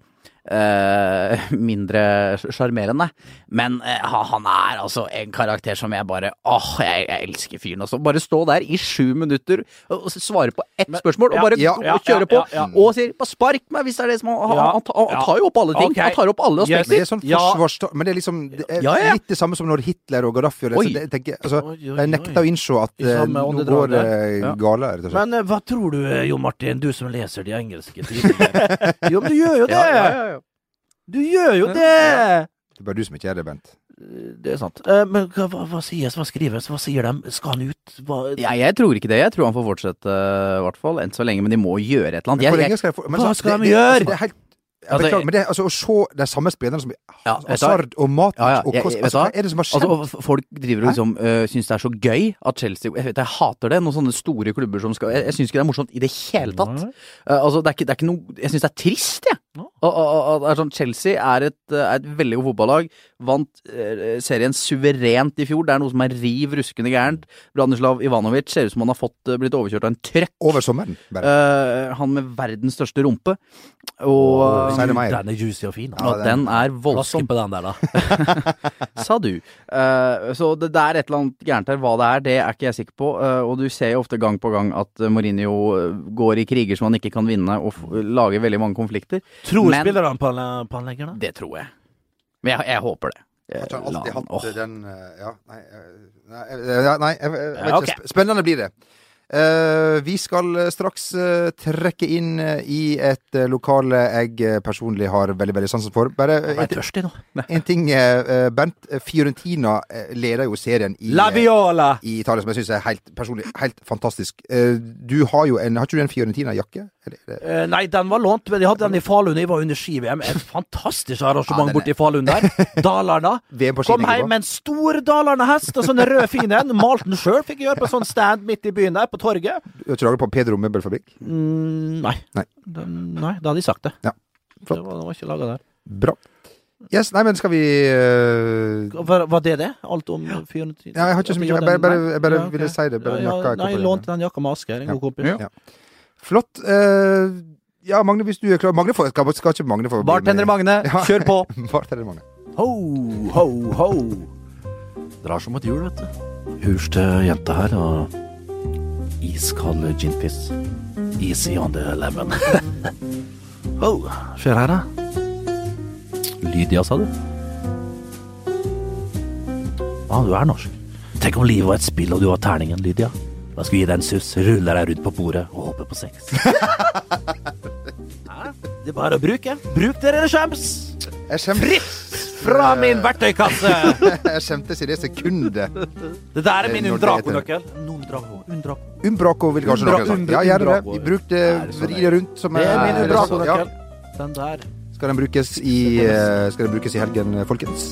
eh, mindre sjarmerende. Men eh, ha- han er altså en karakter som jeg bare Åh, jeg, jeg elsker fyren. Altså. Bare stå der i sju minutter og s- svare på ett spørsmål, og bare
ja,
og
ja,
kjøre på.
ja, ja,
Og sier bare 'spark meg', hvis det er det som han, han,
Ja,
han, ta- han tar jo opp alle ting.
Ok.
Han tar opp alle
Yes.
aspekter.
Men det er sånn
Ja.
forsvarsta... Men det er liksom det er
Ja, ja.
litt det samme som når Hitler og Gaddafi og det,
Oi.
så det, jeg tenker, altså,
Oi, oi,
De nekta å innse at
I
eh,
samme
nå
åndedrag
går det
der. Ja.
gale, rett og slett.
Men eh, hva tror du, eh, Jo Martin, du som leser de engelske tidene? jo, men du gjør jo det! Du gjør jo det!
Det er bare du som ikke er det, Bent.
Det er sant. Eh, Men hva, hva, hva sies, hva skrives, hva sier de? Skal han ut? Hva
Ja, jeg tror ikke det. Jeg tror han får fortsette, eh, i hvert fall. Enn så lenge. Men de må gjøre et eller annet.
Hvor
Jeg,
lenge
jeg,
skal jeg få men
Hva
sånn,
skal
det-
de
det-
gjøre?
altså, det er helt- jeg
Altså,
Beklager, men det, er- altså, å se de samme spillerne som altså,
Ja, vet du hva?
Hazard og Matic
Ja, ja,
og
jeg-
Kost,
vet du
altså, Hva
hva?
er det som har skjedd?
altså, f- folk driver og liksom øh, syns det er så gøy at Chelsea Jeg, vet, jeg hater det. Noen sånne store klubber som skal Jeg, jeg syns ikke det er morsomt i det hele tatt. Eh, altså, det er ikke, det er ikke noe Jeg syns det er trist, jeg. Og- og- og- og det er sånn, Chelsea er et, eh, er et veldig godt fotballag. Vant eh, serien suverent i fjor. Det er noe som er riv ruskende gærent. Branislav Ivanovic ser ut som han har fått, eh, blitt overkjørt av en trøkk.
Over sommeren, bare.
Eh, han med verdens største rumpe. Og
Åh,
eh,
sier det meg.
Den er juicy og fin. da.
ja, den er
Flaske
voldsom,
på den der, da.
sa du. Eh, så det, det er et eller annet gærent her. Hva det er, det er ikke jeg sikker på. Eh, og du ser jo ofte gang på gang at eh, Mourinho eh, går i kriger som han ikke kan vinne, og f lager veldig mange konflikter.
Tror
Men-
spillerne på han på han legger, da?
Det tror jeg. Men jeg, jeg håper det. Jeg,
At han
la
alltid
han-
hatt
åh.
den eh, Ja, nei, eh, nei, eh, ja, nei jeg, jeg, jeg vet
Ja,
ikke. Sp- Spennende blir det. Eh, vi skal eh, straks eh, trekke inn eh, i et eh, lokale jeg eh, personlig har veldig veldig sansen for. Bare eh,
Jeg
en,
er tørstig nå.
en ting, eh, eh, Bent. eh, Fiorentina eh, leder jo serien i,
La
eh,
viola!
i Italia, som jeg syns er helt, personlig, helt fantastisk. Eh, du har jo en Har ikke du en Fiorentina-jakke? Eller er det-
Eh, nei, den var lånt, men jeg hadde den i Falun. Jeg var under ski-VM. Et fantastisk arrangement borte i Falun der. Dalarna.
VM på
Kom
skinning, hva?
hjem med en stor Dalarna-hest og sånn en rød fin en. Malte den sjøl, fikk jeg gjøre på sånn stand midt i byen der, på torget.
Du har ikke laget på Pedro Møbelfabrikk?
Mm, nei.
Nei.
Den, nei, da hadde de sagt det.
Ja.
Det var, det var ikke laget der.
Bra. Yes, nei, men skal vi eh,
Var, var det det? Alt om 410?
Ja, jeg har ikke så mye. Jeg bare, bare, jeg bare ville si det. Bare
ja,
nakka
Nei, jeg
kopper.
lånte den jakka med Asker, en god kompis.
Ja. Flott. eh, ja, Magne, hvis du er klar Magne får, skal, skal ikke Magne få bli
Bartender
med?
Magne,
Ja.
kjør på!
Bartender Magne.
Ho, ho, ho. Drar som et hjul, vet du. Hurs til jenta her og iskald ginfiss. Easy on the lemon. ho, ser her, da. Lydia, sa du? Ah, du er norsk. Tenk om livet var et spill og du var terningen, Lydia. Jeg skulle gi deg en suss, rulle deg rundt på bordet og håpe på sex. Hæ? Det er bare å bruke. Bruk dere skjems!
Jeg skjemte,
Fra min verktøykasse!
jeg skjemtes i det sekundet.
Det der er min
Når det
Undraco-nøkkel. Undraco, Undraco.
Umbraco vil kanskje noen ha sagt. Ja, gjør det.
Umbraco.
Bruk det, vri det rundt som
Det er min
eller så-
Undraco-nøkkel. Den der.
Ja. Skal den brukes i eh, Skal den brukes i helgen, folkens?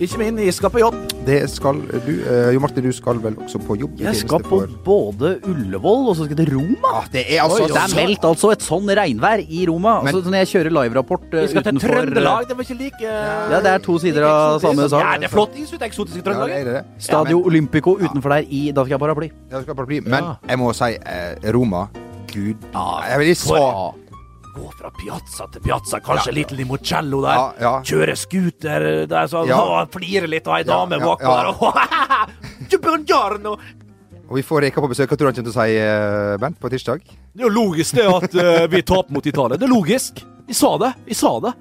Ikke min, jeg skal på jobb.
Det skal du. Eh, jo Martin, du skal vel også på jobb? i
Jeg
tjeneste
skal på
for-
både Ullevål og så skal jeg til Roma.
ah, Det er altså
det er
så-
meldt altså et sånn regnvær i Roma. Altså, når jeg kjører liverapport eh,
Jeg skal til
utenfor eh,
Trøndelag. Det var ikke like eh,
Ja, det er to sider av samme sak.
Ja, det er flott is ute,
ja,
eksotiske
det
Trøndelag.
er det.
Stadio Olympico utenfor der i Da fikk jeg paraply.
Ja, det skal bare bli. Men jeg må si eh, Roma Gud Jeg vil ikke sa
for- Gå fra piazza til piazza,
Ja.
kanskje en liten limoncello der.
Ja, ja.
Kjøre scooter der, sånn.
Ja.
Å, Flire litt, og ei
Ja,
dame
ja,
bak
ja.
der. Buongiorno!
Og vi får Reka på besøk. Hva tror du han kommer til å si, eh, Bent, på tirsdag?
Det er jo logisk det at eh, vi taper mot Italia. Det er logisk. Jeg sa det. Jeg sa det.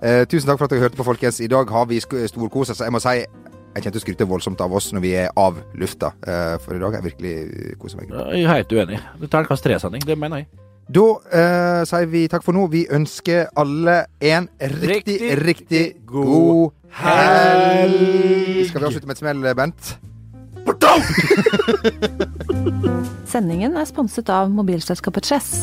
Eh, tusen takk for at dere hørte på, folkens. I dag har vi sk- storkosa, så jeg må si jeg kjente å skryte voldsomt av oss når vi er av lufta. Eh, for i dag har jeg virkelig kosa meg.
Jeg er helt uenig. Det er terningkast tre-sending. Det mener jeg.
Da eh, sier vi takk for nå. Vi ønsker alle en riktig, riktig,
Riktig,
god
god
helg. Skal vi avslutte med et smell, Bent?
Sendingen er sponset av mobilselskapet Chess.